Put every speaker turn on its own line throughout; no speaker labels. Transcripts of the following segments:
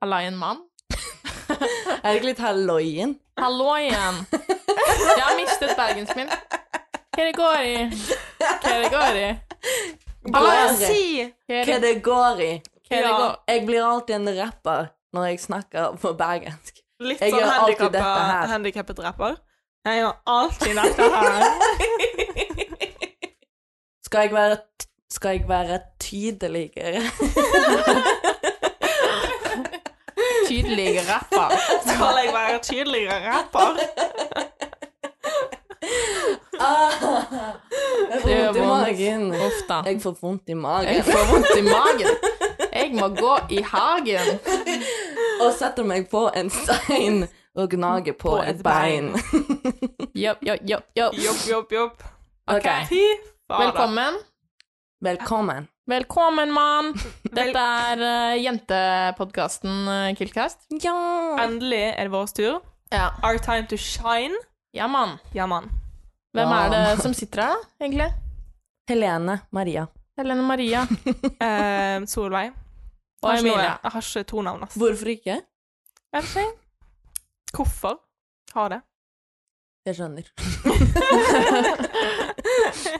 Hallaien, mann.
Er det ikke litt halloien?
Hallo igjen. Jeg har mistet bergensken min. Hva det går i? Hva det går i?
Hva
Går i.
si?
Hva
Hva
det-
det går i?
hva det går
Jeg blir alltid en rapper når jeg snakker på bergensk.
Litt
Jeg
sånn
gjør alltid
handikappa-
dette her.
handikappet rapper. Jeg gjør alltid dette her.
Skal jeg være, t- skal jeg være tydeligere?
Tydelige rapper.
Skal jeg være tydeligere rapper?
Ah, jeg får
Det gjør
vondt i
vondt.
magen.
Uff da.
Jeg får vondt i
Jeg
magen.
får vondt i magen. Jeg må gå i hagen.
Og setter meg på en stein og gnager på,
På
et
et
bein.
bein.
Yo, yo, yo, yo.
Jobb, jobb, jobb.
Ok.
Fy fader.
Velkommen.
Velkommen.
Velkommen, mann.
Vel-
Dette er uh, jentepodkasten uh, Kiltcast.
Ja.
Endelig er det vår tur.
Ja.
Our time to shine.
ja, mann.
Ja, mann.
Hvem
Ja,
er det som sitter her, da, egentlig?
Helene Maria.
Helene Maria.
Eh, Solveig. Jeg
Og
har, ikke noe,
Emilia.
jeg har ikke to navn, ass.
Hvorfor ikke?
Jeg vet ikke. Hvorfor har det?
Jeg skjønner.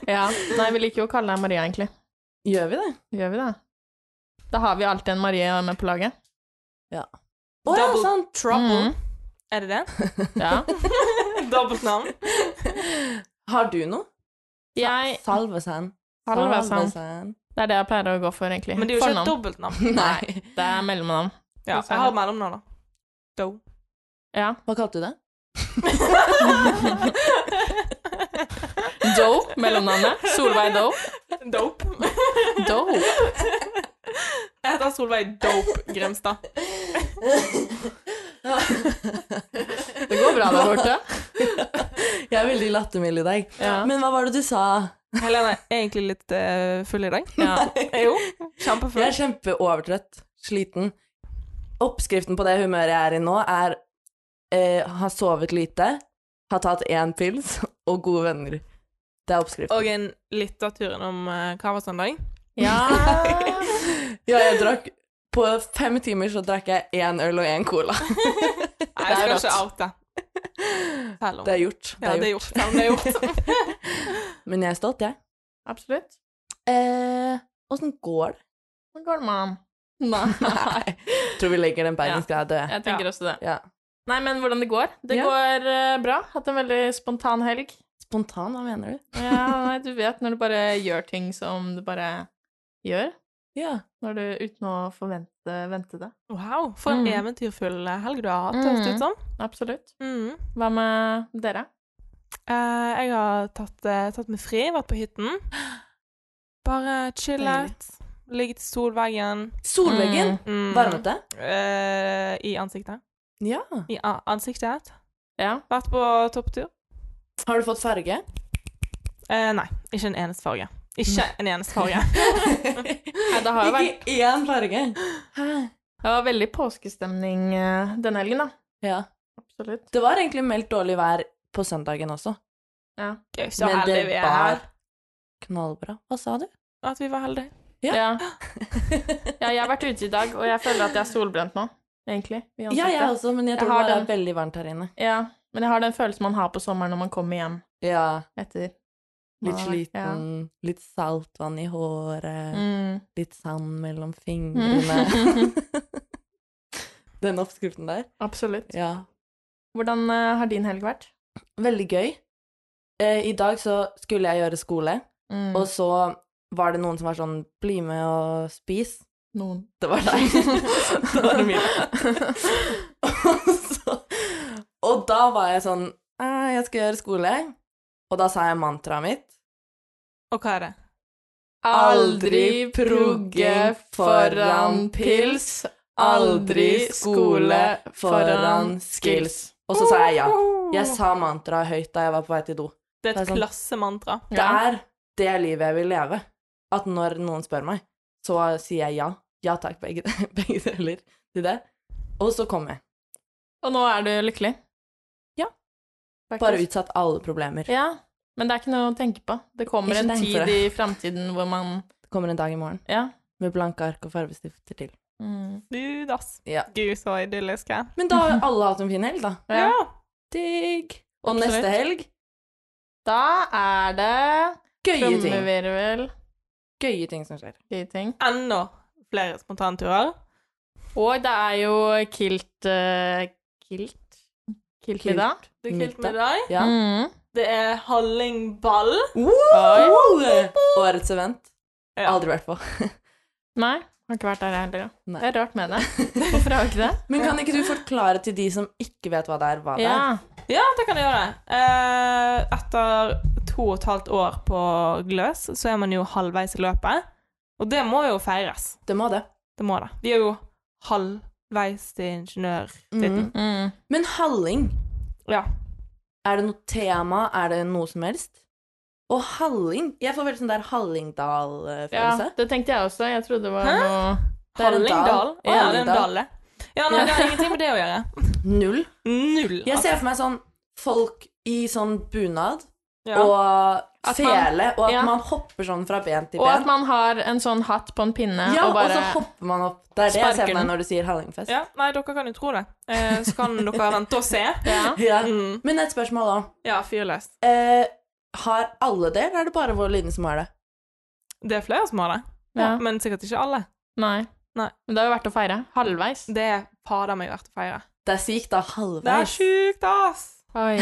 Ja. Nei, vi liker jo å kalle deg Maria, egentlig.
Gjør vi det?
Gjør vi det? Da har vi alltid en Marie med på laget.
Å ja,
Double
sant! Mm.
Trouble. Er det det?
Ja.
Dobbeltnavn.
Har du noe?
Jeg
Salvesen.
Salvesen. Det er det jeg pleier å gå for, egentlig.
Men det er jo ikke et
Fornavn.
dobbeltnavn.
Nei.
Det er mellomnavn.
Ja, jeg har mellomnavn, da. Do.
Ja.
Hva kalte du det?
Doe, mellomnavnet. Solveig Doe.
Dope.
Doe.
Jeg heter Solveig Dope Grimstad.
Det går bra der borte.
Jeg er veldig lattermild i dag.
Ja.
Men hva var det du sa?
Helene er egentlig litt eh, full i dag.
ja.
Jo,
Jeg
kjempefull.
er kjempeovertrøtt. Sliten. Oppskriften på det humøret jeg er i nå, er eh, ha sovet lite, ha tatt én pils og gode venner. Det er oppskriften.
Og en lyttertur innom eh, Kavasandang.
ja.
Ja, jeg drakk På fem timer så drakk jeg én øl og én cola.
Nei,
Det
jeg
er
skal
rått.
ikke oute. Selv om.
Det er gjort.
Ja, det er gjort. Selv om det er gjort.
Men jeg er stolt, jeg.
Absolutt.
Eh, Åssen går det?
Nå går det med ham.
Nei. Tror vi legger den bergensgreia død.
Jeg tenker også det.
Ja.
Nei, men hvordan det går? Det
Ja.
går eh, bra. Hatt en veldig spontan helg.
Spontan, hva mener du?
Ja, nei, du vet når du bare gjør ting som du bare gjør.
Ja.
Når du, uten å forvente vente det.
Wow, for en
Mm.
eventyrfull helg du har hatt,
Mm.
høres det ut som.
Absolutt.
Mm.
Hva med dere?
Eh, jeg har tatt, eh, tatt meg fri, vært på hytten. Bare chillet. Ligget i solveggen.
Solveggen.
Mm.
Varmet det?
Eh, I ansiktet.
Ja.
I a ansiktet.
Ja.
Vært på topptur.
Har du fått farge?
Eh, nei, ikke en eneste farge. Ikke en eneste farge.
Nei, det har jo vært
Ikke én farge. Hæ?
Det var veldig påskestemning eh, denne helgen, da.
Ja.
Absolutt.
Det var egentlig meldt dårlig vær på søndagen også.
Ja.
Gøy, så
Men det
heldige vi er
var-
her.
Knallbra. Hva sa du?
At vi var heldige.
Ja.
Ja. ja, jeg har vært ute i dag, og jeg føler at jeg er solbrent nå, egentlig. i
Ja, jeg
ansiktet.
også, men jeg
Jeg
tror
har
det er
den.
veldig varmt her inne.
ja. Men jeg har den følelsen man har på sommeren når man kommer hjem
Ja.
etter.
Litt
Ja.
sliten, eh, litt saltvann i håret,
Mm.
litt sand mellom fingrene. Den oppskriften der.
Absolutt.
Ja.
Hvordan eh, har din helg vært?
Veldig gøy. Eh, I dag så skulle jeg gjøre skole,
Mm.
og så var det noen som var sånn 'bli med og spis'.
noen.
Det var deg. det var Emilie. og, så, og da var jeg sånn «Eh, Jeg skal gjøre skole. Og da sa jeg mantraet mitt.
Og hva er det?
Aldri progge foran pils, aldri skole foran skills. Og så sa jeg ja. Jeg sa mantraet høyt da jeg var på vei til do.
Det
Det
er et
er sånn-
klassemantra.
Det er det livet jeg vil leve. At når noen spør meg, så sier jeg ja. Ja takk, begge, begge deler til det. Og så kom jeg.
Og nå er du lykkelig?
Ja.
Faktisk.
Bare utsatt alle problemer.
Ja. Men det er ikke noe å tenke på. Det kommer
Ikke
en
tenk på
tid
det.
i framtiden hvor man
Det kommer en dag i morgen
Ja. Mm.
med blanke ark og fargestifter til.
Gud, ass.
Ja.
Gud, så idyllisk. jeg.
Men da har alle hatt en fin helg, da.
Ja.
Ja.
Digg. Og
Absolutt.
neste helg
Da er det
gøye ting.
trommevirvel,
Gøye ting som skjer.
gøye ting.
Enda flere spontanturer.
Og det er jo kilt eh, Kilt? Kiltmiddag.
Det er kult
Middag.
med deg.
Ja.
Mm.
Det er hallingball.
Woo! Årets event.
Ja.
Aldri vært på.
Nei, har ikke vært der heller. da.
Nei.
Det er rart med det. Hvorfor har vi ikke det?
Men kan ikke du forklare til de som ikke vet hva det er, hva det
Ja.
er?
Ja, det kan jeg gjøre. Eh, etter to og et halvt år på Gløs, så er man jo halvveis i løpet. Og det må jo feires.
Det må det.
Det må det. Vi er jo halvveis til ingeniørtittelen.
Mhm.
Mm.
Men halling,
Ja.
er det noe tema? Er det noe som helst? Og halling Jeg får veldig sånn der
ja,
Hallingdal-følelse.
det tenkte jeg også. Jeg trodde det var
Hæ?
noe
Det er en
Hallingdal.
dal.
Å ja, det er en
Hallingdal.
dal, det. Ja, nei, det har ingenting med det å gjøre.
Null.
Null.
Jeg ser for meg sånn folk i sånn bunad
Ja.
og
At man-
fele, og at
ja.
man hopper sånn fra ben til
Og at
ben.
man har en sånn hatt på en pinne
ja,
og bare
og så hopper man opp. Det er det jeg ser
sparker
for meg
den.
når du sier hallingfest.
ja. Nei, dere kan jo tro det. Eh, så kan dere vente og se.
ja.
Ja.
Mm.
Men et spørsmål da.
Ja, fyrløst.
Eh, har alle det, eller er det bare vår Line som har det?
Det er flere som har det,
Ja.
men sikkert ikke alle.
Nei.
Nei.
Men det har jo vært å feire. Halvveis.
Det er fader meg verdt å feire.
Det er sykt, da.
Det er
Halvveis.
sjukt, ass!
Oi.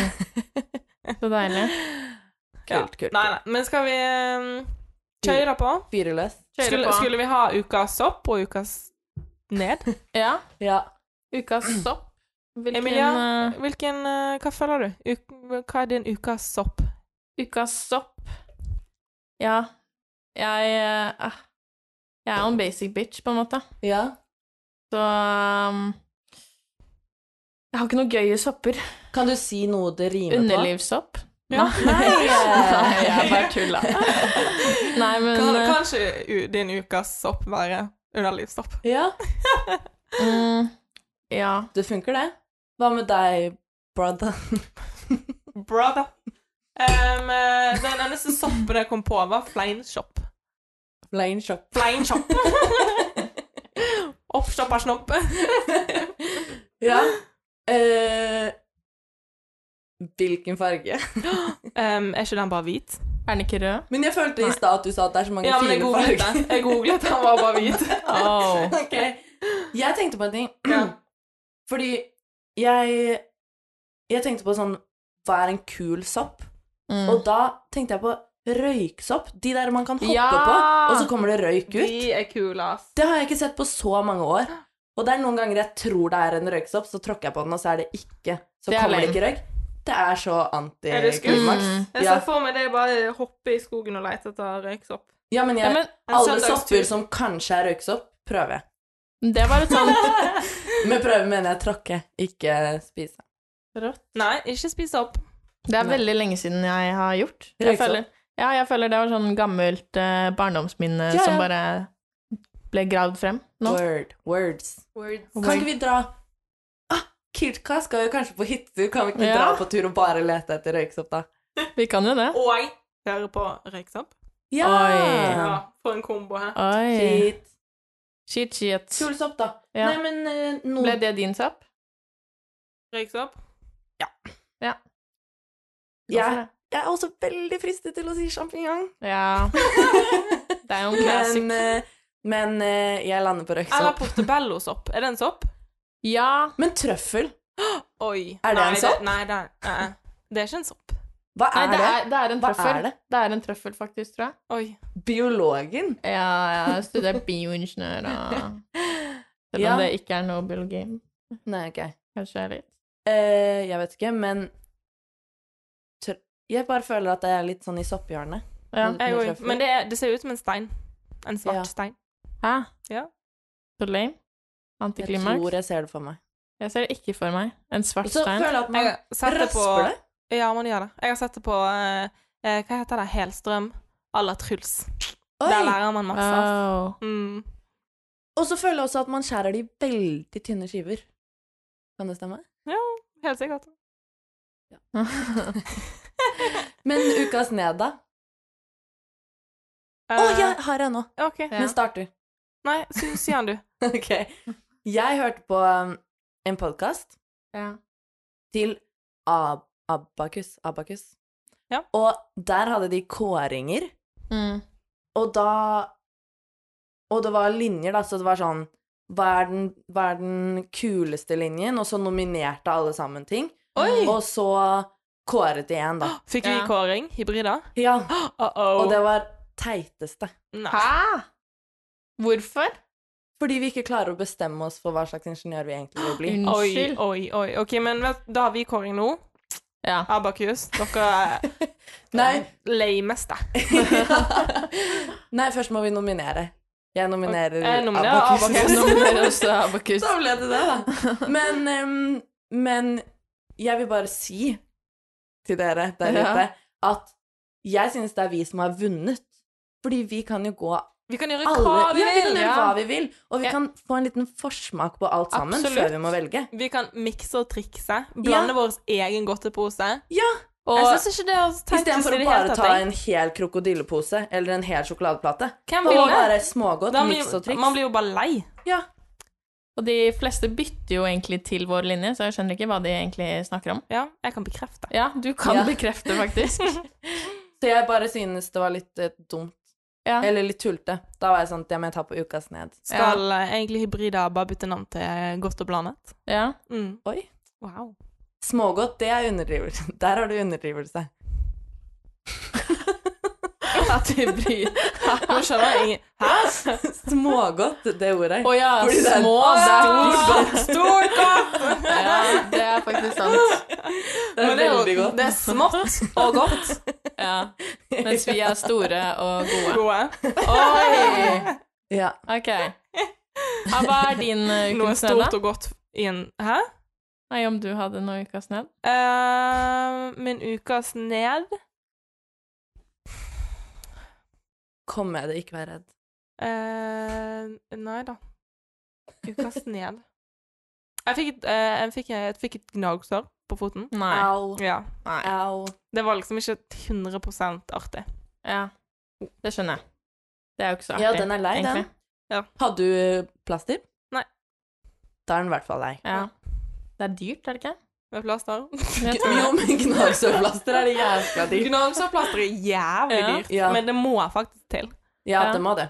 Så deilig.
Kult, kult.
Nei, nei, men skal vi um, kjøre på?
Fyreløs.
Kjøre
Skulle,
på.
skulle vi ha ukas opp og ukas ned?
Ja.
Ja.
Ukas sopp. Hvilken
Emilia?
eh,
Hvilken, eh, hva føler du? Uk hva er din ukas sopp?
ukas sopp Ja. Jeg eh, ah. Jeg er jo en basic bitch, på en måte.
ja.
Så um, Jeg har ikke noe gøye sopper.
Kan du si noe det rimer
Underlivssopp?
Ja.
på?
Nei,
Nei!
jeg bare tulla. Nei, men
Kan,
eh,
kanskje u din ukas sopp være underlivssopp?
Ja,
mm, Ja.
det funker, det. Hva med deg, brother?
Brother. Um, eh, den eneste soppen jeg kom på, var fleinsopp.
Line shop.
Fleinsopp. Oppstoppa snopp.
Ja. Eh, hvilken farge?
Um, er ikke den bare hvit?
Er den ikke rød?
Men jeg følte i
Nei.
stad at du sa at det er så mange
Ja, men jeg
fine
googlet
farger.
den. Jeg googlet den, var bare hvit.
Oh.
Ok. Jeg tenkte på en ting.
Ja.
Fordi jeg Jeg tenkte på sånn Hva er en kul sopp?
Mm.
Og da tenkte jeg på røyksopp. De der man kan hoppe
Ja!
på, og så kommer det røyk ut.
De er kule, ass.
Det har jeg ikke sett på så mange år. Og det er noen ganger jeg tror det er en røyksopp, så tråkker jeg på den, og så er det ikke. Så
Det er
kommer det
lame.
ikke røyk. Det er så
Er det
anti-klimaks.
skummelt? Mm.
Jeg
Ja.
ser for meg det er bare å hoppe i skogen og lete etter røyksopp.
Ja, men
Ja,
jeg,
men
En
alle
søndagstur.
sopper som kanskje er røyksopp, prøver jeg.
det var et sånn- sånt
Med prøve mener jeg tråkke, ikke spise.
Nei, ikke spis opp.
Det er
Nei.
veldig lenge siden jeg har gjort. Jeg
Røyksopp.
føler, ja, jeg føler det var sånn gammelt eh, barndomsminne
Ja, ja.
som bare ble gravd frem nå.
Word. Words.
Word.
Kan ikke vi dra Ah, Kirka skal jo kanskje på hyttetur, kan vi ikke
Ja.
dra på tur og bare lete etter røyksopp, da?
Vi kan jo det.
Og høre på røyksopp.
Ja!
Oi.
Ja, for en kombo her.
Oi.
Shit.
Shit, shit.
Kul sopp, da.
Ja.
Nei, men eh, noen
Ble det din sopp?
Røyksopp.
jeg, jeg er også veldig fristet til å si sjampinjong.
Ja. Det er jo en classic.
Men, eh, men eh, jeg lander på
Eller
røyksopp.
portobellosopp. Er det en sopp?
Ja.
Men trøffel,
Oi.
Er det
nei,
en sopp?
Nei, det er, nei, nei. det er ikke en sopp.
hva
Nei,
er
det
det?
er, det er en
Hva
trøffel.
er det?
Det er en trøffel, faktisk, tror jeg.
Oi.
Biologen?
Ja, jeg har studert bioingeniør og Selv om
Ja.
det ikke er noe biologi.
Nei, ok.
Kanskje litt.
Eh, jeg vet ikke, men tr Jeg bare føler at det er litt sånn i sopphjørnet.
Ja.
Med
Jeg òg.
trøffel.
Men det, er, det ser ut som en stein. En svart
Ja.
stein.
Hæ?
Ja.
Så lame.
Jeg
Antiklimaks.
tror jeg ser det for meg.
Jeg ser det ikke for meg. En svart
Og så
stein.
føler jeg at
Jeg
man
har sett det på
rasper det.
Ja, man gjør det. Jeg har sett det på eh, eh, Hva heter det? Helstrøm à la Truls.
Oi!
Der lærer man masse. ass.
Oh.
Mm.
Og så føler jeg også at man skjærer det i veldig tynne skiver. Kan det stemme?
Ja, helt sikkert.
Men ukas ned, da? Å,
Eh,
jeg har en nå!
OK.
Ja.
Men start du.
Nei, si, si han, du.
Ok. Jeg hørte på um, en podkast
Ja.
til Ab Abakus. Abakus.
Ja.
Og der hadde de kåringer,
Mm.
og da Og det var linjer, da, så det var sånn hva er, den, hva er den kuleste linjen? Og så nominerte alle sammen ting.
Oi!
Og så kåret de en, da.
Fikk vi
Ja.
kåring? Hybrida?
Ja.
Uh-oh.
Og det var teiteste.
Nei.
Hæ? Hvorfor?
Fordi vi ikke klarer å bestemme oss for hva slags ingeniør vi egentlig vil bli.
Oi,
Unnskyld.
oi, oi. Ok, men vet, da har vi kåring nå.
Ja.
Abakus, dere er
Nei.
lameste.
Nei, først må vi nominere. Jeg nominerer
Jeg nominerer Abakus.
Jeg nominerer også Abakus.
Så ble det det, da. Men, em, men jeg vil bare si til dere der
Ja.
ute at jeg synes det er vi som har vunnet. Fordi vi kan jo gå
Vi kan gjøre
alle
hva vi
ja, vi kan
vil.
gjøre
ja.
hva vi vil, og vi
Ja.
kan få en liten forsmak på alt sammen
Absolutt.
før vi må velge.
Vi kan mikse og trikse. Blande
Ja.
vår egen godtepose.
Ja,
Og
Jeg
syns ikke det er
Istedenfor å bare ta en hel krokodillepose eller en hel sjokoladeplate.
Hvem
Og
vil det?
bare smågodt,
Da
miks og
blir,
triks.
man blir jo bare lei.
Ja.
Og de fleste bytter jo egentlig til vår linje, så jeg skjønner ikke hva de egentlig snakker om.
Ja, jeg kan bekrefte.
Ja, du kan
Ja.
bekrefte, faktisk.
Så jeg bare synes det var litt eh, dumt.
Ja.
Eller litt tulte. Da var jeg sånn Det må jeg ta på ukas ned.
Skal eh, egentlig hybrida bare bytte navn til eh, Godt og blandet?
Ja.
Mm.
Oi.
Wow.
Smågodt, det er underdrivelse. Der har du underdrivelse.
At vi bryr
Nå skjønner jeg ingen Hæ?
Smågodt, det ordet.
Å ja,
Fordi det er-
små
Å,
det er
stort
stort.
godt.
Stort godt!
Ja, det er faktisk sant.
Det er
Men det er
veldig
jo
godt.
det er smått og godt.
Ja. Mens vi er store og gode.
Gode.
Oi!
Ja.
OK. Ja, hva er din eh,
Noe
ukas ned,
stort
da?
og godt i en Hæ?
Nei, om du hadde noe ukas ned?
Eh, min ukas ned
Kommer jeg det ikke være redd?
eh, Nei da. Ukas ned Jeg fikk et, eh, jeg fikk, jeg fikk et gnagsår på foten.
Nei.
Au.
Ja.
Nei.
Au.
Det var liksom ikke 100 artig.
Ja. Det skjønner jeg. Det er jo ikke så artig.
Ja, den er lei, den.
egentlig.
Hadde du plaster?
Nei.
Da er den i hvert fall lei.
Ja. Det er dyrt, er det ikke?
Med plaster.
Jeg tror det.
Jo, men gnagsårplaster er det jævla dyrt.
Gnagsårplaster er jævlig
Ja.
dyrt,
Ja.
men det må faktisk til
Ja,
Ja.
det må det.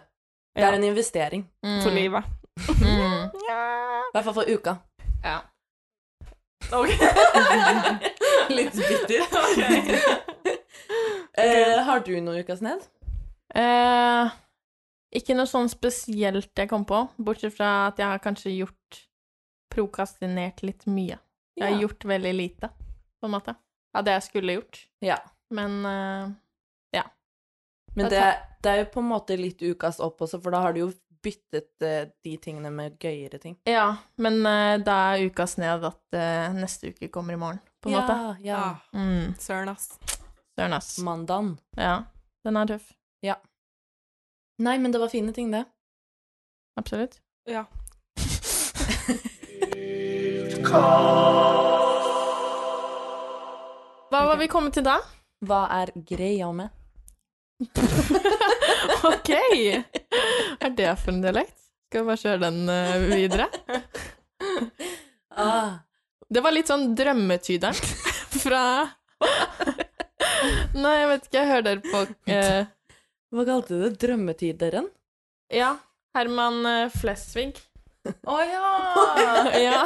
Det
Ja.
er en investering.
Mm.
for livet.
Mm.
Ja.
I hvert fall for uka.
Ja.
Litt bitter. eh, har du noe ukas ned?
Eh, ikke noe sånn spesielt jeg kom på, bortsett fra at jeg har kanskje gjort prokastinert litt mye. Jeg har
Ja.
gjort veldig lite, på en måte, av det jeg skulle gjort.
Ja.
Men eh,
Men det, det er jo på en måte litt ukas opp også, for da har du jo byttet eh, de tingene med gøyere ting.
ja, men eh, da er ukas ned at eh, neste uke kommer i morgen, på en
ja,
måte.
Ja.
Ah,
Mm,
Søren, ass.
Søren, ass.
Mandagen.
Ja, den er tøff.
Nei, men det var fine ting, det.
Absolutt.
Ja.
Hva var vi kommet til da?
Hva er greia med?
Ok! Er det for en dialekt? Skal vi bare kjøre den eh, videre?
Ah,
Det var litt sånn drømmetyderen fra Nei, jeg vet ikke, jeg hører dere på eh,
hva kalte du det? Drømmetyderen?
Ja, Herman eh, Flesvig.
Å ja!
Ah. Ja.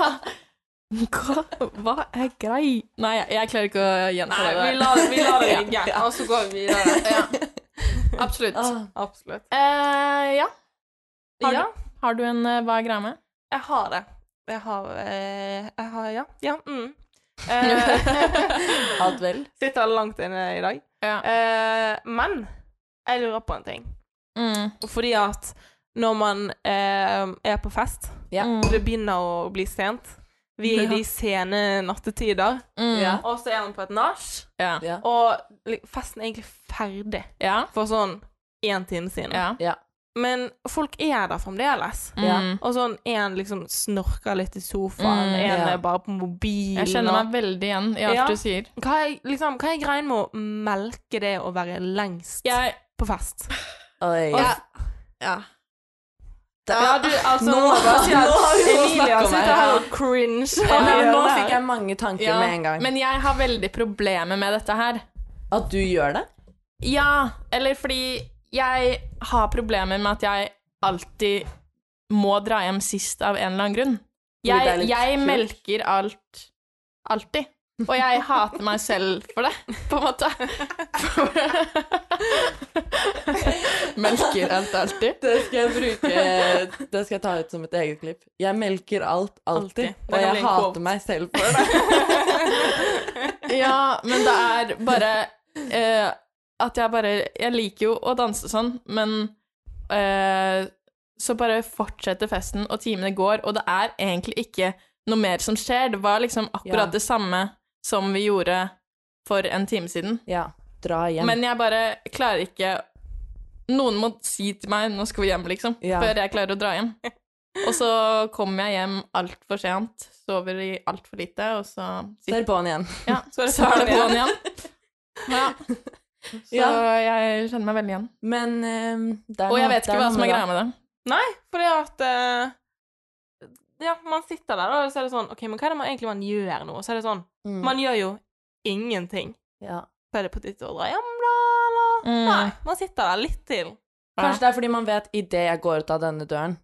Hva, hva er grei Nei, jeg klarer ikke å gjenta
Nei,
det.
vi lar, vi lar det ligge, og så går vi videre.
Absolutt.
Ah,
Absolutt.
Eh, ja. Har du-
Ja,
Har du en eh, Hva er greia med?
jeg har det. Jeg har, eh, jeg har Ja. ja mm. Eh,
alt vel?
sitter langt inne i dag.
Ja.
Eh, men jeg lurer på en ting.
Mm.
Fordi at når man eh, er på fest,
Ja.
Mm.
og det begynner å bli sent Vi er i de sene nattetider,
Mm.
Ja.
og så er man på et nach,
Ja.
Ja.
og li- festen er egentlig ferdig
Ja.
for sånn én time siden.
ja.
Men folk er der fremdeles.
Ja.
Mm.
Og sånn, en liksom snorker litt i sofaen,
Mm,
en
ja.
er bare på mobilen.
Jeg kjenner meg veldig igjen i alt
Ja.
du sier.
og... Hva er, liksom, hva er greien med å melke det å være lengst
Jeg
på fest?
Oi.
Ja. ja.
Ja, du, altså,
Nå-
nå, må jeg bare si at
nå har vi noe å snakke
Emilia
om
sitter
her.
her og cringe.
Ja, men nå
Ja.
fikk jeg mange tanker
Ja,
med en gang.
Men jeg har veldig problemer med dette her.
At du gjør det?
Ja, eller fordi jeg har problemer med at jeg alltid må dra hjem sist av en eller annen grunn.
Fordi det er
Jeg,
litt
jeg
kult.
melker alt alltid. Og jeg hater meg selv for det, på en måte. melker alt alltid.
Det skal jeg bruke Det skal jeg ta ut som et eget klipp. Jeg melker alt, alltid.
Alltid. Det
Og
kan
jeg
bli en quote.
hater meg selv for det.
Ja, men det er bare eh, at jeg bare Jeg liker jo å danse sånn, men eh, så bare fortsetter festen, og timene går, og det er egentlig ikke noe mer som skjer. Det var liksom akkurat
Ja.
det samme som vi gjorde for en time siden.
Ja, dra hjem.
Men jeg bare klarer ikke Noen må si til meg 'nå skal vi hjem', liksom,
Ja.
før jeg klarer å dra hjem. Og så kommer jeg hjem altfor sent, sover i altfor lite, og så
Så er det på'n igjen.
ja,
Så er det
så er det
på'n
på'n igjen. Ja. Så
Ja.
jeg kjenner meg veldig igjen.
Men eh, det er
Og
noe-
jeg vet
det
ikke hva
noe
som
med
er
det.
greia med det.
Fordi at eh, Ja, man sitter der, og så er det sånn OK, men hva er det man egentlig man gjør nå? Og Så er det sånn
Mm.
Man gjør jo ingenting.
Ja.
Så er det på tide å dra hjem, da, eller
Mm.
Nei, man sitter der litt til.
Kanskje det er fordi man vet idet jeg går ut av denne døren,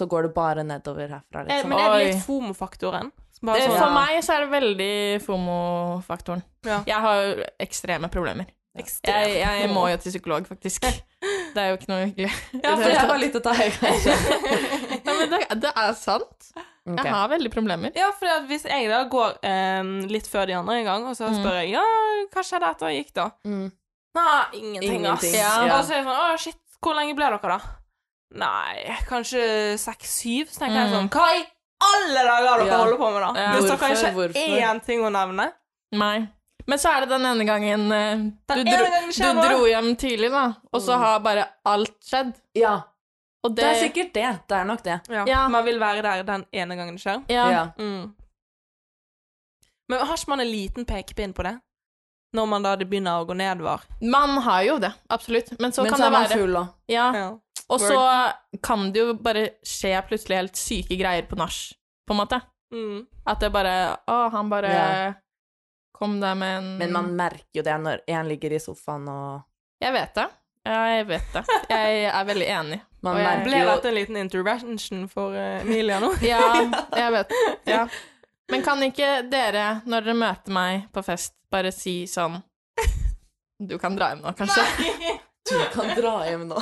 så går det bare nedover herfra,
Eh,
liksom.
Men er det
Oi.
litt FOMO-faktoren? Som
Det-
Bare sånn
For
Ja.
meg så er det veldig FOMO-faktoren.
Ja.
Jeg har jo ekstreme problemer. Jeg,
ekstremt.
jeg må jo til psykolog, faktisk. Det er jo ikke noe hyggelig.
Ja, for
det
jeg,
var litt å ta i, kanskje.
Ja, men det, det er sant.
Ok.
Jeg har veldig problemer.
Ja, for at hvis jeg da går eh, litt før de andre en gang, og så
Mm.
spør jeg ja, hva skjedde etter jeg gikk, da?
Mm.
Nei, ingenting,
Ingenting,
ass.
ja.
Og så er jeg sånn, å shit, hvor lenge ble dere da? Nei, kanskje 6-7, så tenker jeg sånn,
Mm.
hva i alle dager dere
Ja.
holder på med da?
Ja,
Hvis dere
hvorfor,
ikke har
hvorfor?
én ting å nevne.
Nei. Men så er det den ene gangen eh, du,
Den
dro,
ene gangen skjer
du
noe.
dro hjem tidlig, da, og så
Mm.
har bare alt skjedd.
Ja,
Og det,
det er sikkert det. Det er nok det.
Ja.
Ja.
Man vil være der den ene gangen det skjer.
Ja.
Ja.
Mm. Men har ikke man en liten pekepinn på det? Når man da det begynner å gå nedover.
Man har jo det, absolutt. Men så
Men
kan
så
det
er man
være
full òg.
ja.
Ja.
Og så kan det jo bare skje plutselig helt syke greier på nach, på en måte.
Mm.
At det bare Å, han bare
Ja.
kom der med en
Men man merker jo det når en ligger i sofaen og
Jeg vet det. Jeg vet det. Jeg er veldig enig.
Man
Og jeg
merker
Ble
jo
dette en liten intervention for eh, Emilia nå?
Ja, jeg vet ja. Men kan ikke dere, når dere møter meg på fest, bare si sånn Du kan dra hjem nå, kanskje?
Du kan dra hjem nå.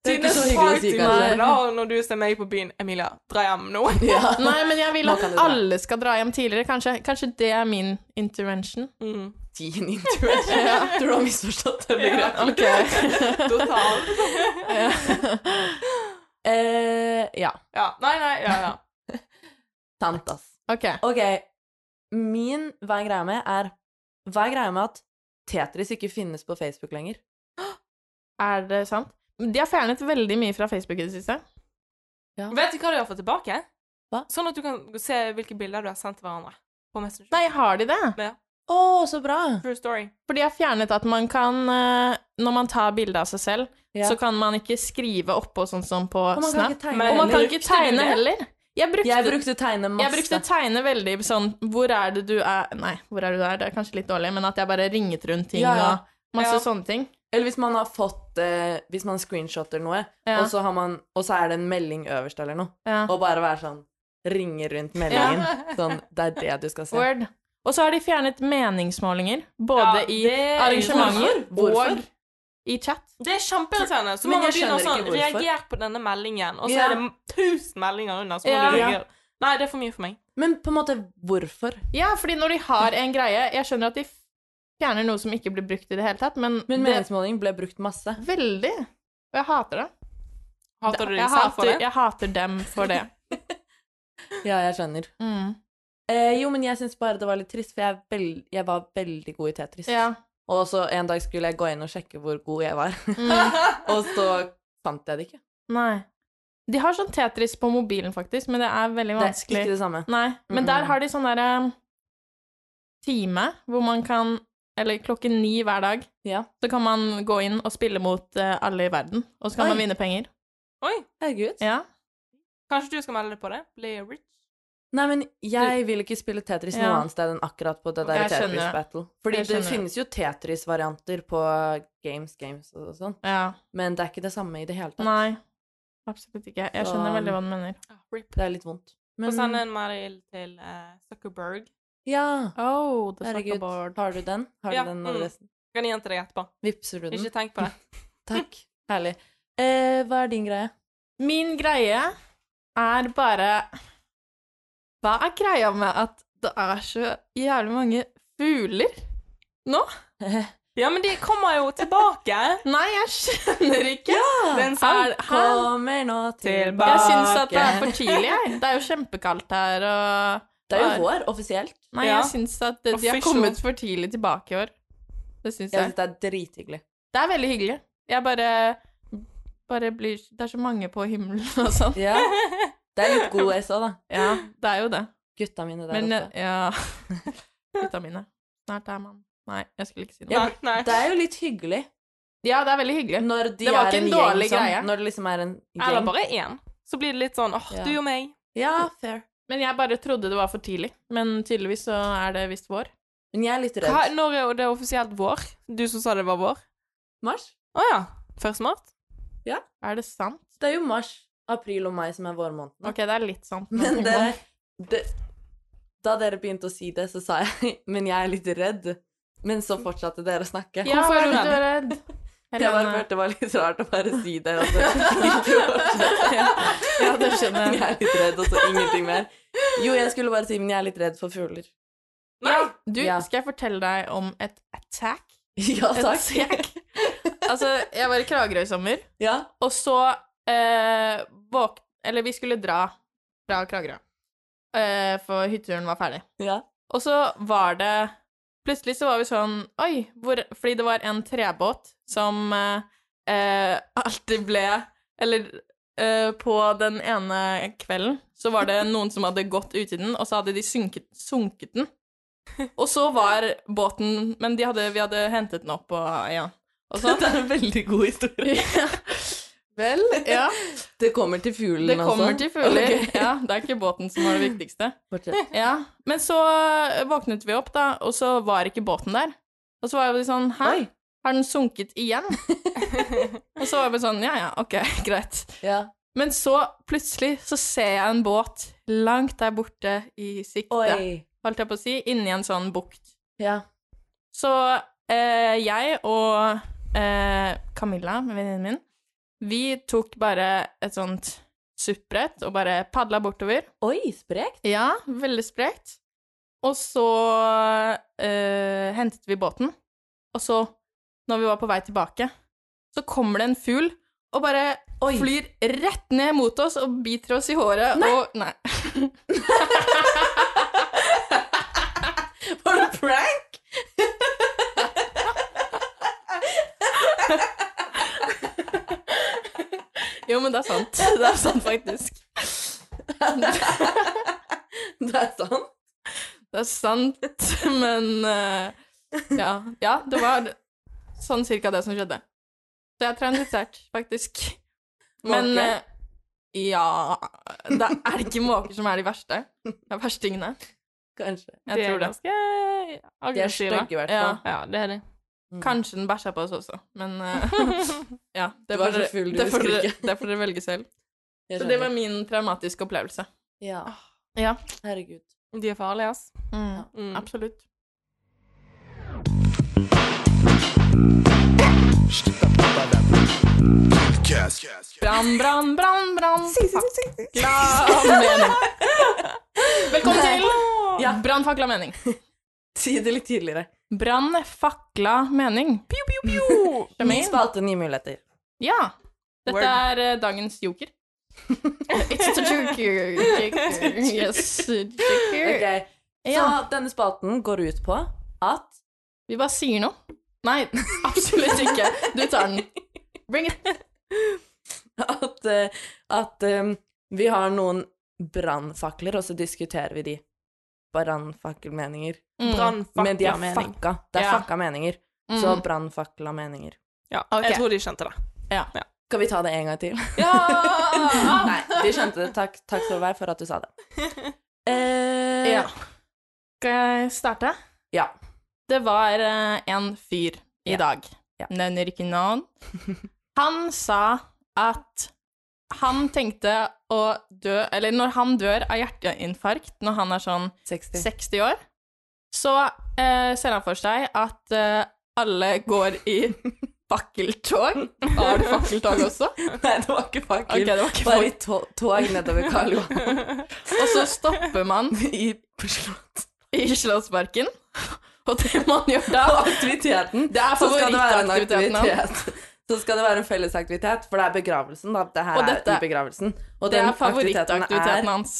Det er ikke
Tidenes
så hyggelig å si,
party
kanskje.
med da, og når du ser meg på byen Emilia, dra hjem nå.
Ja.
Nei, men jeg vil
Nå
at
kan du dra.
alle skal dra hjem tidligere, kanskje. Kanskje det er min intervention?
Mm.
Din intervention. Tror du har misforstått det begrepet?
Ok.
Totalt.
Eh, ja.
Ja. Nei, nei, ja, ja.
Sant, ass.
Ok.
Ok, min hva er greia med er Hva er greia med at Tetris ikke finnes på Facebook lenger?
Er det sant? De har fjernet veldig mye fra Facebook i det siste.
Vet du hva du har fått tilbake?
Hva?
Sånn at du kan se hvilke bilder du har sendt til hverandre på Messenger.
Nei, har de det?
Å, så bra!
True story.
For de har fjernet at man kan eh, Når man tar bilde av seg selv,
Ja.
så kan man ikke skrive oppå sånn som på
Og man kan
Snap.
ikke tegne.
Men-
Og man kan
heller.
ikke
Brukte du
tegne
det?
heller. Jeg brukte,
Jeg brukte tegne masse.
jeg brukte tegne veldig sånn Hvor er det du er Nei, hvor er du er? Det er kanskje litt dårlig, men at jeg bare ringet rundt ting
Ja, ja.
og masse
Ja.
sånne ting.
Eller hvis man har fått eh, Hvis man screenshotter noe,
Ja.
og, så har man, og så er det en melding øverst eller noe,
Ja.
og bare være sånn Ringe rundt meldingen. Sånn Det er det du skal se.
Word. Og så har de fjernet meningsmålinger, både
Ja, det-
i arrangementer
Hvorfor?
og i chat.
Det er kjempeirriterende. Så
Men
må man
jeg
begynne å
skjønner
sånn
ikke hvorfor.
Reager på denne meldingen, og så
Ja.
er det tusen meldinger under, så må
Ja.
du reagere. Nei, det er for mye for meg.
Men på en måte, hvorfor?
Ja, fordi når de har en greie Jeg skjønner at de fjerner noe som ikke blir brukt i det hele tatt, men,
Men
det
meningsmåling ble brukt masse.
er veldig Og jeg hater det.
Hater du
jeg,
deg selv for
hater,
det?
jeg hater dem for det.
Ja, jeg skjønner.
Mm.
Eh, jo, men jeg syns bare det var litt trist, for jeg, er veld- jeg var veldig god i Tetris.
Ja.
Og så en dag skulle jeg gå inn og sjekke hvor god jeg var,
Mm.
og så fant jeg det ikke.
Nei. De har sånn Tetris på mobilen, faktisk, men det er veldig
Det er
vanskelig.
ikke det samme.
Nei. Men
Mm-mm.
der har de sånn derre time hvor man kan Eller klokken ni hver dag.
Ja.
Så kan man gå inn og spille mot eh, alle i verden, og så kan
Oi.
man vinne penger.
Oi!
Herregud.
Ja.
Kanskje du skal melde deg på det? Bli rich.
Nei, men jeg vil ikke spille Tetris noe
Ja.
annet sted enn akkurat på det der
Jeg skjønner
Tetris
det.
Battle. Fordi
Jeg
det
skjønner det.
finnes jo Tetris-varianter på Games Games og sånn,
ja.
men det er ikke det samme i det hele tatt.
Nei. Absolutt ikke. Jeg
Så-
skjønner veldig hva du mener.
Ah,
Rip.
Det er litt vondt.
Og
Men
send en mail til eh, Zuckerberg.
ja,
Oh, the
herregud, har du den? Har
Ja,
du den
mm.
adressen?
Jeg kan gi den til deg etterpå.
Vipser du den?
Ikke tenk på det.
Takk. Herlig. Eh, hva er din greie?
Min greie er bare Hva er greia med at det er så jævlig mange fugler?
Ja, men de kommer jo tilbake!
Nei, jeg skjønner ikke.
Det er en sang.
Er, hæ?
Kommer nå tilbake.
Tilbake.
Jeg syns at det er for tidlig, jeg. Det er jo kjempekaldt her, og
Det er jo vår, offisielt.
Nei,
Ja.
jeg syns at de har
Official.
kommet for tidlig tilbake i år. Det syns
Jeg
jeg.
synes det er drithyggelig.
Det er veldig hyggelig. Jeg bare bare blir Det er så mange på himmelen og sånn.
Ja. Det er litt god SO, da.
Ja, det er jo det.
Gutta mine der
Men
oppe.
ja Gutta mine. Snart er man Nei, jeg skulle ikke si noe.
Nei, nei.
Det er jo litt hyggelig
Ja, det er veldig hyggelig.
når de
Det var
er
ikke
en
en
gjeng
dårlig greie.
sånn. Når det liksom er en
Eller
gjeng.
bare én. Så blir det litt sånn åh,
Ja.
du og meg.
Ja, fair.
Men jeg bare trodde det var for tidlig. Men tydeligvis så er det visst vår.
Men jeg er litt
Hva,
redd.
når er det offisielt vår? Du som sa det var vår?
Mars?
Å ja. 1. mars?
Er det sant?
Det er jo mars, april og mai som er vårmånedene.
Ok, det er litt sant. nå,
Men
tenker
det,
jeg.
det Da dere begynte å si det, så sa jeg Men jeg er litt redd. Men så fortsatte dere å snakke.
Ja,
Hvorfor
hva
er
er
du
det du er redd?
Jeg bare
Helene.
følte det var litt rart å bare si det, og så ikke fortsette.
Ja, det skjønner
Jeg
jeg.
er litt redd, og så ingenting mer. Jo, jeg skulle bare si, men jeg er litt redd for fugler.
Nei!
Du,
Ja.
skal jeg fortelle deg om et attack?
Ja,
Et
takk.
Altså, jeg var i Kragerø i sommer,
Ja.
og så eh, våk... Eller vi skulle dra fra Kragerø, eh, for hytteturen var ferdig.
ja.
Og så var det Plutselig så var vi sånn Oi! Hvor, fordi det var en trebåt som eh, eh, alltid ble Eller eh, på den ene kvelden så var det noen som hadde gått uti den, og så hadde de synket, sunket den. Og så var båten Men de hadde, vi hadde hentet den opp og ja. Og sånn.
er en veldig god historie.
Vel, ja.
Det kommer til fuglen,
Det kommer
altså.
til fugler.
Ok,
Ja, det er ikke båten som var det viktigste.
fortsett.
Ja, men så eh, våknet vi opp da, og så var ikke båten der. Og så var vi sånn, hæ?
Oi.
Har den sunket igjen? og så var vi sånn, ja, ja, ok, greit.
Ja.
Men så plutselig så ser jeg en båt langt der borte i sikte,
Oi.
holdt jeg på å si, inni en sånn bukt.
Ja.
Så eh, jeg og eh, Camilla, venninnen min, vi tok bare et sånt suppbrett og bare padla bortover.
Oi, sprekt.
Ja, veldig sprekt. Og så eh, hentet vi båten, og så, når vi var på vei tilbake, så kommer det en fugl og bare
Oi.
flyr rett ned mot oss og biter oss i håret og Nei.
Var det prank?
Jo, men det er sant. Det er sant, faktisk.
Det er sånn.
Det er sant, men eh, ja. ja, det var sånn cirka det som skjedde. Så jeg er traumatisert, faktisk. Men
Måke?
eh, ja det Er det ikke måker som er de verste? Det er verstingene.
Kanskje.
Jeg tror det.
ganske
De er
aggressive.
stygge, i hvert
Ja.
fall.
Ja, det er de.
Mm.
Kanskje den bæsja på oss også, men eh, ja. Det
Du var
får dere-
så full, du
det får
husker
dere-
ikke.
Det får dere velge selv.
Jeg
Så det var
skjønner.
min traumatiske opplevelse.
Ja.
Ja.
Ah. Herregud.
De er farlige, ass.
Mm.
Mm.
Absolutt. Brann, brann, brann, brann. Fakla mening. Velkommen til
Ja.
Brann, fakla mening.
Si det litt tidligere.
Brann, fakla mening. Piu, piu, piu.
Ny spalte, nye muligheter.
Ja. Dette
Word.
er eh, dagens joker. It's the joker. joker. Yes, joker.
Ok, Så
Ja.
denne spalten går ut på at
Vi bare sier noe. Nei, absolutt ikke. Du tar den. Bring it.
at, eh, at eh, vi har noen brannfakler, og så diskuterer vi de. Brannfakkelmeninger.
Mm.
Brannfakla
Men de er
mening.
fakka. Det er
Ja.
fakka meninger.
Mm.
Så brannfakla meninger.
Ja,
Ok.
jeg tror de skjønte det.
Ja.
Skal vi ta det en gang til?
Ja!
Nei, de skjønte det. Takk, takk Solveig, for at du sa det. Eh,
Ja. Skal jeg starte?
Ja.
Det var eh, en fyr i
Ja.
dag.
Ja.
Nevner ikke navn. Han sa at han tenkte å dø Eller når han dør av hjerteinfarkt, når han er sånn
60.
60 år, så eh, ser han for seg at eh, alle går i fakkeltog. Har du fakkeltog også?
Nei, det var ikke
Ok,
fakkel.
det var ikke
Bare
fakkel.
i to tog nedover Karl Johan
Og så stopper man
i på Slott.
i Slottsparken, og det man gjør da
Og aktiviteten
Det er
Så skal det være en
favorittaktiviteten hans.
aktivitet. Så skal det være en fellesaktivitet, for det er begravelsen, da. Det her
Og dette-
er i begravelsen. Og
Det
den
er
aktiviteten
favorittaktiviteten hans.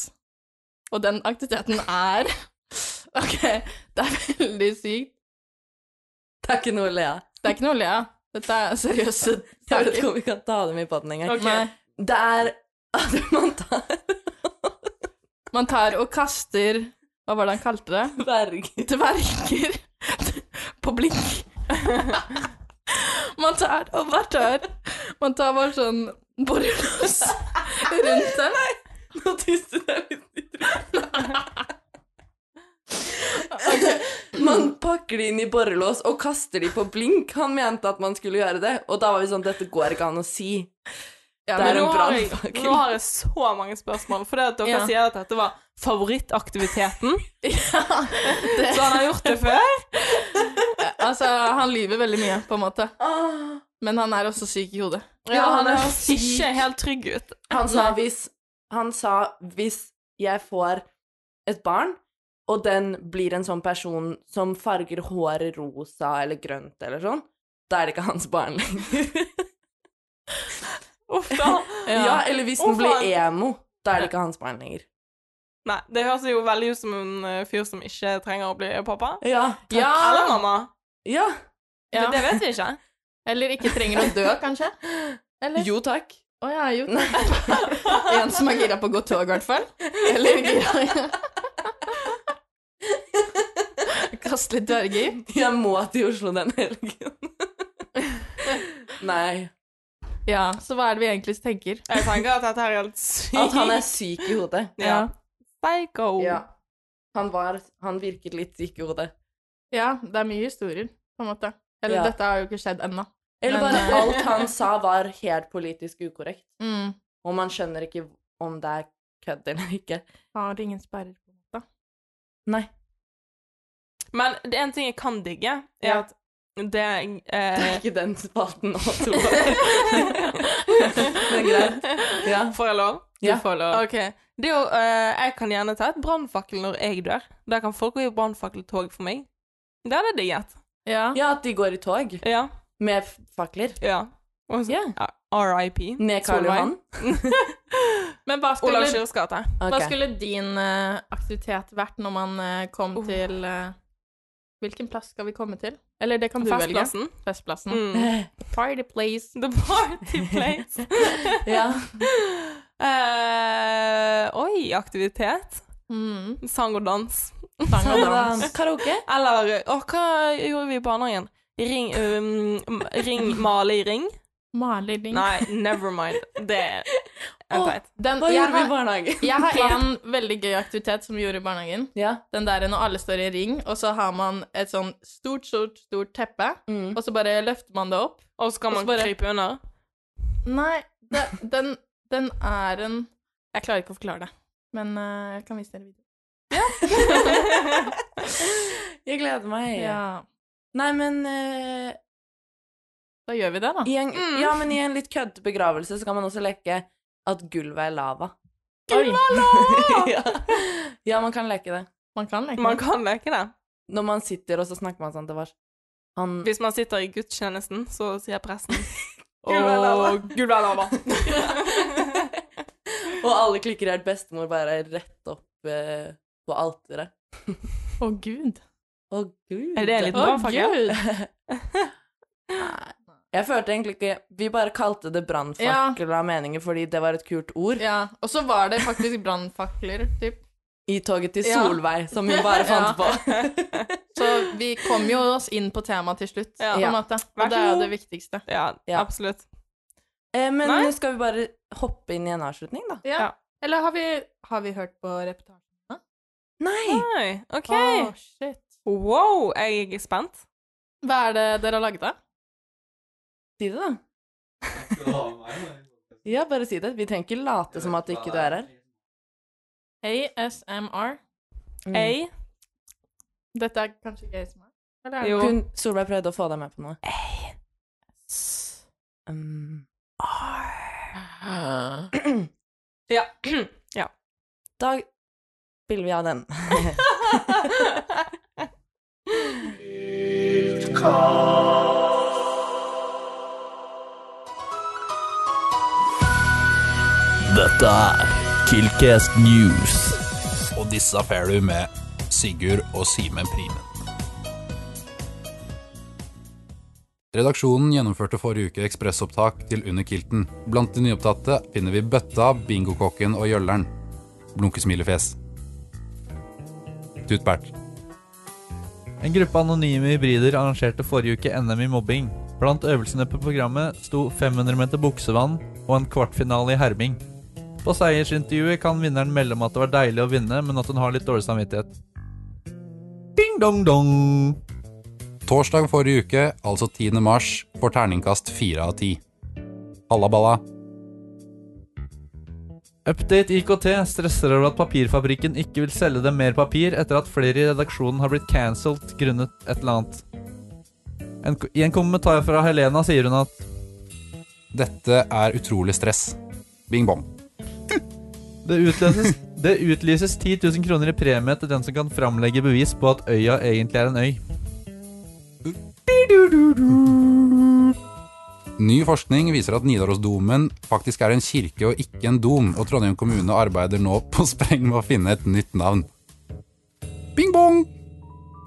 Og den aktiviteten er Ok, det er veldig sykt.
er Det er ikke noe å le av.
Det er ikke noe å le av. Dette er seriøse
Jeg vet
saker.
ikke om vi kan ta dem i poden engang.
Ok.
Nei,
Det er at man tar
Man tar og kaster Hva var det han kalte det?
verger
Dverger på blink. Man tar og bare tar Man tar bare sånn borrelås rundt dem.
Nå tisset jeg litt i Man pakker de inn i borrelås og kaster de på blink. Han mente at man skulle gjøre det, og da var vi sånn Dette går ikke an å si.
Ja,
Det er
men
nå
en
har, jeg,
brannfakkel.
nå har jeg så mange spørsmål, for det at dere
Ja.
sier at dette var favorittaktiviteten.
det-
Så han har gjort det før.
Altså, han lyver veldig mye, på en måte.
Ah.
Men han er også syk i hodet.
Ja, han er
høres
syk.
ikke helt trygg ut.
Han sa hvis Han sa hvis jeg får et barn, og den blir en sånn person som farger håret rosa eller grønt eller sånn, da er det ikke hans barn lenger.
Uff da.
ja. eller hvis
Å,
den blir
faen.
emo, da er det ikke hans barn lenger.
Nei, det høres jo veldig ut som en eh, fyr som ikke trenger å bli pappa.
Ja.
Ja.
Eller mamma.
ja.
Ja.
Det, det vet vi ikke.
Eller ikke trenger å dø, kanskje? Eller?
Jo takk.
Å ja, jo. En som er gira på å gå tog, i hvert fall. Eller gira Kaste litt dverger.
Jeg må til Oslo den helgen. Nei.
Ja, så hva er det vi egentlig tenker?
Jeg tenker at dette her er helt sykt.
At han er syk i hodet.
ja. Psycho.
Ja. Han, var, han virket litt syk i hodet.
Ja, det er mye historier, på en måte. Eller
Ja.
dette har jo ikke skjedd ennå.
Eller
Men,
bare
eh,
alt han sa, var helt politisk ukorrekt.
Mm.
Og man skjønner ikke om det er kødd eller ikke.
Har ingen sperrer, på en måte.
Nei.
Men det er en ting jeg kan digge, er
Ja.
at det
Det
eh,
er ikke den spalten nå, Tove. Men greit. Ja.
Får jeg lov?
Ja.
Du får lov.
Ok. Det er jo, eh, jeg kan gjerne ta et brannfakkel når jeg dør. Da kan folk gå i brannfakkeltog for meg. Det hadde jeg digget.
Ja.
ja, at de går i tog
Ja.
med f- fakler
ja. Og så-
Ja.
RIP.
Mm.
ned Karl
Solveig.
Johan.
Men hva skulle,
Olav Kyrres gate.
hva
Ok.
skulle din eh, aktivitet vært når man eh, kom
Oh.
til eh, Hvilken plass skal vi komme til? Eller det kan du velge.
Festplassen.
Festplassen.
Mm.
Party place.
The party place.
Ja.
Eh, oi, aktivitet.
Mm.
Sang og dans.
Sang og dans.
Sånn. Karaoke.
Eller Å, hva gjorde vi i barnehagen? Ring, um, ring Male i ring?
Maling.
Nei, never mind. Det er
Å,
teit.
Den,
Hva
jeg,
gjorde vi i
har,
barnehagen?
jeg har en veldig gøy aktivitet som vi gjorde i barnehagen.
Ja.
Den der når alle står i ring, og så har man et sånn stort, stort, stort teppe,
Mm.
og så bare løfter man det opp.
Og så kan
Og så
man
bare-
krype under.
Nei, det, den, den er en Jeg klarer ikke å forklare det, men eh, jeg kan vise dere videoen.
Jeg gleder meg.
Ja.
Nei, men eh,
Da gjør vi det, da.
i en,
Mm.
Ja, men i en litt køddete begravelse så kan man også leke at gulvet er lava.
Oi,
ja. ja, man kan leke det.
man kan leke.
Man kan leke det.
Når man sitter, og så snakker man sånn til vars. Han
Hvis man sitter i gudstjenesten, så sier presten
Gud være lava.
«Åh, Gud være lava.
Og alle klikker helt bestemor bare rett opp eh, på alteret.
Å, gud.
Å, gud.
Er det en
Å,
liten brannfakkel?
gud.
Jeg følte egentlig ikke Vi bare kalte det brannfakkel av meninger fordi det var et kult ord.
Ja. Og så var det faktisk brannfakler, typ.
I toget til
Ja.
Solveig, som hun bare fant
Ja.
på.
Så vi kom jo oss inn på temaet til slutt,
Ja.
på en måte.
Vær
Og
så
det er jo
god.
det viktigste.
Ja,
Ja.
absolutt.
Eh, men
Nei.
nå skal vi bare hoppe inn i en avslutning, da?
Ja.
Ja.
Eller har vi, har vi hørt på reportasjen?
Nei!
Nei, OK.
Åh, shit.
Wow, jeg er spent.
Hva er det dere har laget, da?
Si det, da. Ja, bare si det. Vi trenger ikke late som at du ikke du er her.
ASMR. Mm.
A.
Dette er kanskje ikke ASMR? Eller er det-
Jo.
Hun, Mm. Solveig prøvde å få deg med på noe. Um,
Ja. ja.
da spiller vi av den.
Dette er Killcast News. Og disse får du med Sigurd og Simen Primen. Redaksjonen gjennomførte forrige uke ekspressopptak til Under kilten. Blant de nyopptatte finner vi Bøtta, Bingokokken og Gjølleren. Blunkesmilefjes. Tutbert.
En gruppe anonyme hybrider arrangerte forrige uke NM i mobbing. Blant øvelsene på programmet sto 500 meter buksevann og en kvartfinale i herming. På seiersintervjuet kan vinneren melde om at det var deilig å vinne, men at hun har litt dårlig samvittighet. Ding dong dong!
Torsdag forrige uke, altså 10. mars, får terningkast 4 av 10. Halla balla.
Update IKT stresser over at papirfabrikken ikke vil selge dem mer papir etter at flere i redaksjonen har blitt cancelled grunnet et eller annet. En, I en kommentar fra Helena sier hun at
Dette er utrolig stress. Bing bong.
Det utlyses, det utlyses 10 000 kroner i premie til den som kan framlegge bevis på at øya egentlig er en øy.
Ny forskning viser at Nidarosdomen faktisk er en kirke og ikke en dom, og Trondheim kommune arbeider nå på spreng med å finne et nytt navn. Bing bong!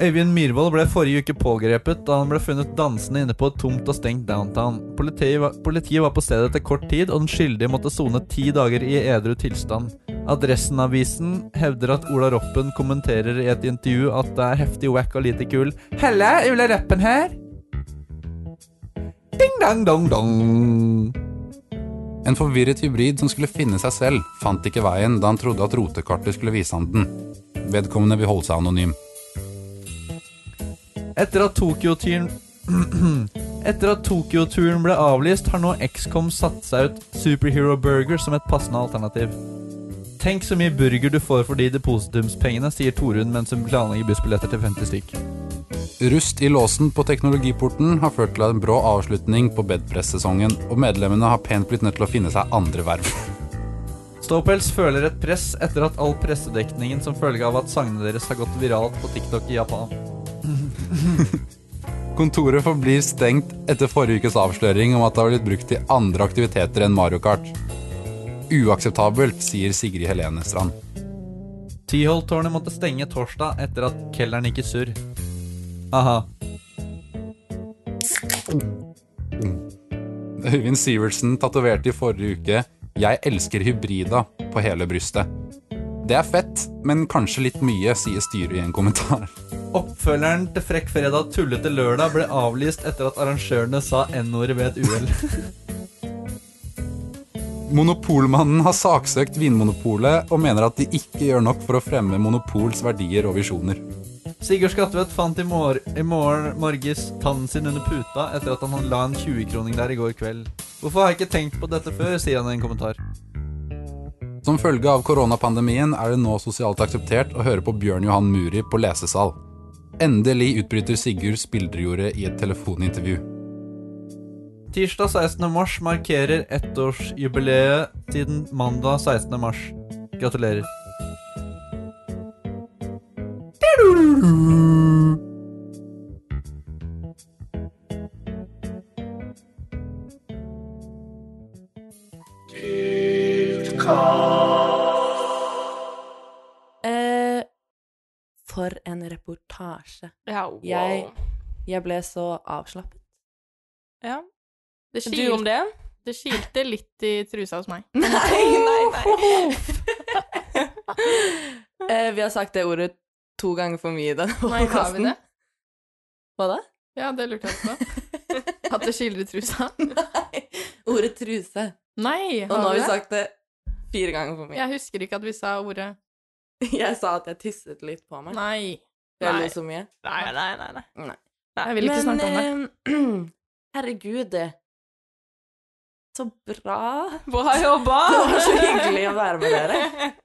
Øyvind Myhrvold ble forrige uke pågrepet da han ble funnet dansende inne på et tomt og stengt downtown. Politiet var, politiet var på stedet etter kort tid, og den skyldige måtte sone ti dager i edru tilstand. Adressenavisen hevder at Ola Roppen kommenterer i et intervju at det er heftig wack og lite kul. Helle, Ola Roppen her. Ding dang dong dong.
En forvirret hybrid som skulle finne seg selv, fant ikke veien da han trodde at rotekartet skulle vise ham den. Vedkommende vil holde seg anonym.
Etter at Tokyo-turen Etter at Tokyo-turen ble avlyst, har nå XCOM satt seg ut Superhero Burger som et passende alternativ. Tenk så mye burger du får for de depositumspengene, sier Torunn mens hun planlegger bussbilletter til 50 stykk.
Rust i låsen på teknologiporten har ført til en brå avslutning på bedpress-sesongen, og medlemmene har pent blitt nødt til å finne seg andre verv.
Ståpels føler et press etter at all pressedekningen som følge av at sangene deres har gått viralt på TikTok i Japan.
Kontoret forblir stengt etter forrige ukes avsløring om at det har blitt brukt til andre aktiviteter enn Mario Kart. Uakseptabelt, sier Sigrid Helene Strand.
Tyholttårnet måtte stenge torsdag etter at kelneren gikk i surr. Aha.
Øyvind Sivertsen tatoverte i forrige uke 'Jeg elsker hybrida' på hele brystet. Det er fett, men kanskje litt mye, sier styret i en kommentar.
Oppfølgeren til Frekk fredag Tullete lørdag ble avlyst etter at arrangørene sa N-ordet ved et uhell.
Monopolmannen har saksøkt Vinmonopolet og mener at de ikke gjør nok for å fremme monopols verdier og visjoner.
Sigurd Skatvedt fant i, mor i morgen morges tannen sin under puta etter at han la en 20-kroning der i går kveld. Hvorfor har jeg ikke tenkt på dette før, sier han i en kommentar.
Som følge av koronapandemien er det nå sosialt akseptert å høre på Bjørn Johan Muri på lesesal. Endelig utbryter Sigurd Spildrejordet i et telefonintervju.
Tirsdag 16. mars markerer ettårsjubileet siden mandag 16. mars. Gratulerer.
Eh, for en reportasje.
Ja, wow.
Jeg- Jeg ble så avslappet.
ja.
Det,
Du om
kilte,
det?
det kilte litt i trusa hos meg.
Nei, nei, nei.
Eh, vi har sagt det ordet to ganger for mye i den
Nei, har vi
podcasten.
det?
sånn. Hva da?
Ja, det lurte jeg på. At det kiler i trusa.
Nei. ordet truse.
Nei!
Og nå har vi
det?
sagt det fire ganger for mye.
Jeg husker ikke at vi sa ordet
Jeg sa at jeg tisset litt på meg.
Nei.
Jeg
nei.
lo så mye.
Nei, nei, nei. nei.
Jeg vil ikke snakke om det. Ah.
eh, herregud, det. Så bra.
Bra jobba!
Det var så hyggelig å være med dere.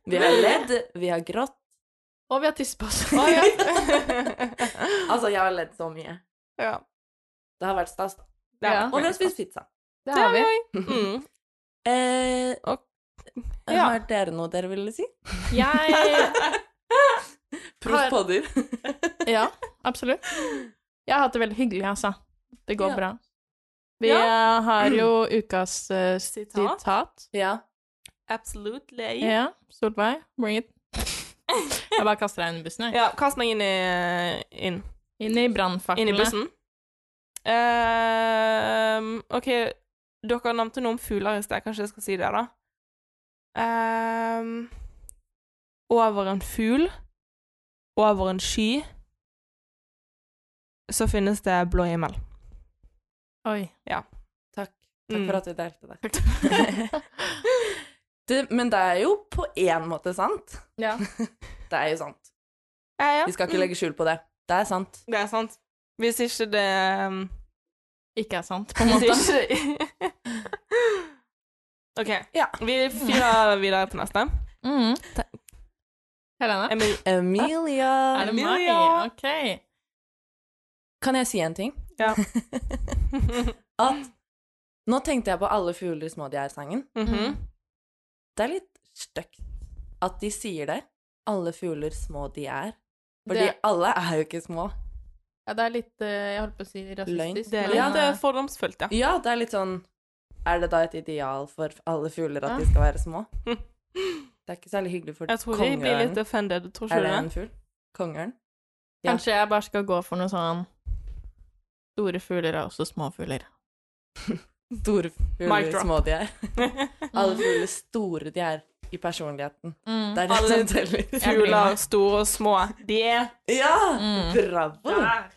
Vi har ledd, vi har grått.
Og vi har tisset på oss.
Altså, jeg har ledd så mye.
ja.
Det har vært stas.
Ja.
Og vi har spist pizza.
Det har vi.
Mm.
Eh,
Og-
Ja.
Har dere noe dere ville si?
Jeg
Prost på dyr.
Ja, absolutt. Jeg har hatt det veldig hyggelig, altså. Det går
Ja.
bra. Vi eh, har jo ukas eh, sitat.
Sitat.
Ja.
Absolutely.
Ja. Solveig, bring it. Jeg bare kaster deg under bussen, jeg.
Ja, kast meg inn i, inn.
Inn i
inn i
brannfaklene.
bussen. Ehm, OK, dere nevnte noe om fugler i sted. Kanskje jeg skal si det, da? Ehm, over en fugl, over en sky, så finnes det blå himmel.
Oi.
Takk. Takk
Mm.
for at du delte det. det. Men det er jo på én måte sant.
Ja.
Det er jo sant.
Ja, ja. Mm.
Vi skal ikke legge skjul på det. Det er sant.
Det er sant. Hvis ikke det ehm,
Ikke er sant, på en måte.
Hvis ikke OK.
Ja.
Vi fyrer videre på neste.
Mm. Helene?
Emil
Er
Emilia
det meg?
Emilia.
OK.
Kan jeg si en ting?
Ja. Mhm.
At
Mm.
Nå tenkte jeg på Alle fugler små de er-sangen.
Mm.
Mhm.
Det er litt stygt at de sier det. Alle fugler små de er. Fordi
Det,
alle er jo ikke små.
ja, det er litt eh, Jeg holdt på å si rasistisk.
Det er
men,
litt
eh,
eh, fordomsfullt, ja.
Ja, det er litt sånn Er det da et ideal for alle fugler at de skal være små? Det er ikke særlig hyggelig for
Jeg tror vi blir litt
kongeørnen.
offended, tror
Er
ikke du
det
det?
en fugl? Kongeørn? Ja.
Kanskje jeg bare skal gå for noe sånn Store fugler er også små fugler.
Store
Mic
fugler,
drop.
små de er. Alle fugler store de er i personligheten.
Mm.
Det er det
Alle
som teller.
Jeg blir
Fugler,
med.
store og små, de er
Ja!
Mm.
Bravo!
der.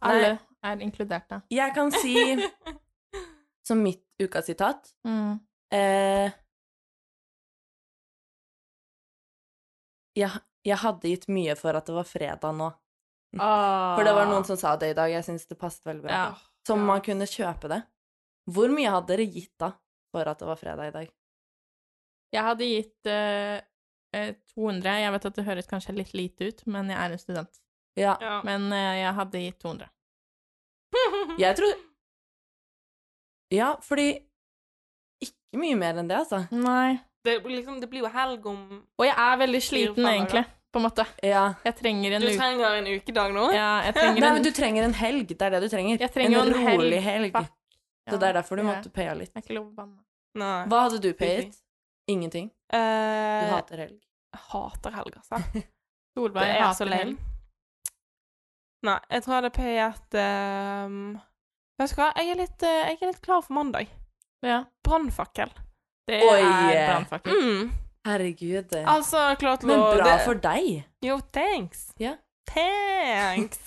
Alle er inkludert, da.
Jeg kan si som mitt ukasitat
Mm.
eh, jeg, jeg hadde gitt mye for at det var fredag nå. For det
Ah.
var noen som sa det i dag. Jeg syns det passet veldig bra.
ja.
Som man kunne kjøpe det. Hvor mye hadde dere gitt da for at det var fredag i dag?
Jeg hadde gitt eh, eh, 200. Jeg vet at det høres kanskje litt lite ut, men jeg er en student.
Ja.
Ja.
Men eh, jeg hadde gitt 200.
Jeg tror Ja, fordi Ikke mye mer enn det, altså.
Nei.
Det, blir liksom, det blir jo helg om
Og jeg er veldig
Fire
sliten,
faen,
egentlig, på en måte.
Ja.
Jeg trenger en
Du
uke.
trenger en ukedag nå?
Ja, jeg
Nei,
trenger en
men du trenger en helg. Det er det du trenger.
Jeg trenger
en,
jo en helg.
rolig helg.
Fuck. Ja,
Så det er derfor du
det er-
måtte paye litt.
Det er ikke lov å banne.
Nei.
Hva hadde du payet? Ingenting. Du
Eh,
hater helg.
jeg hater helg, altså.
Solveig
Det er
hater
så
helg.
lame. Nei, jeg tror jeg hadde payet ehm, Vet du hva, jeg er, litt, eh, jeg er litt klar for mandag.
Ja.
Brannfakkel.
Det
Oi.
er brannfakkel.
Mm.
Herregud. det-
Altså, klar til
Men
å
bra
det-
for deg.
Jo, thanks.
Ja.
Thanks.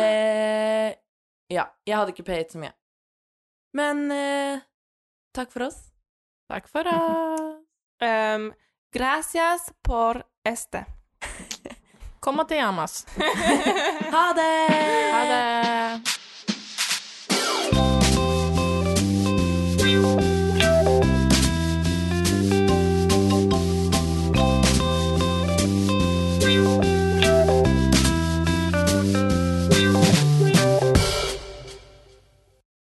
Eh, ja. Jeg hadde ikke payet så mye. Men eh, takk for oss.
Takk for oss.
Ehm, gracias por este.
Kom og til Yamas.
Ha det!
Ha det.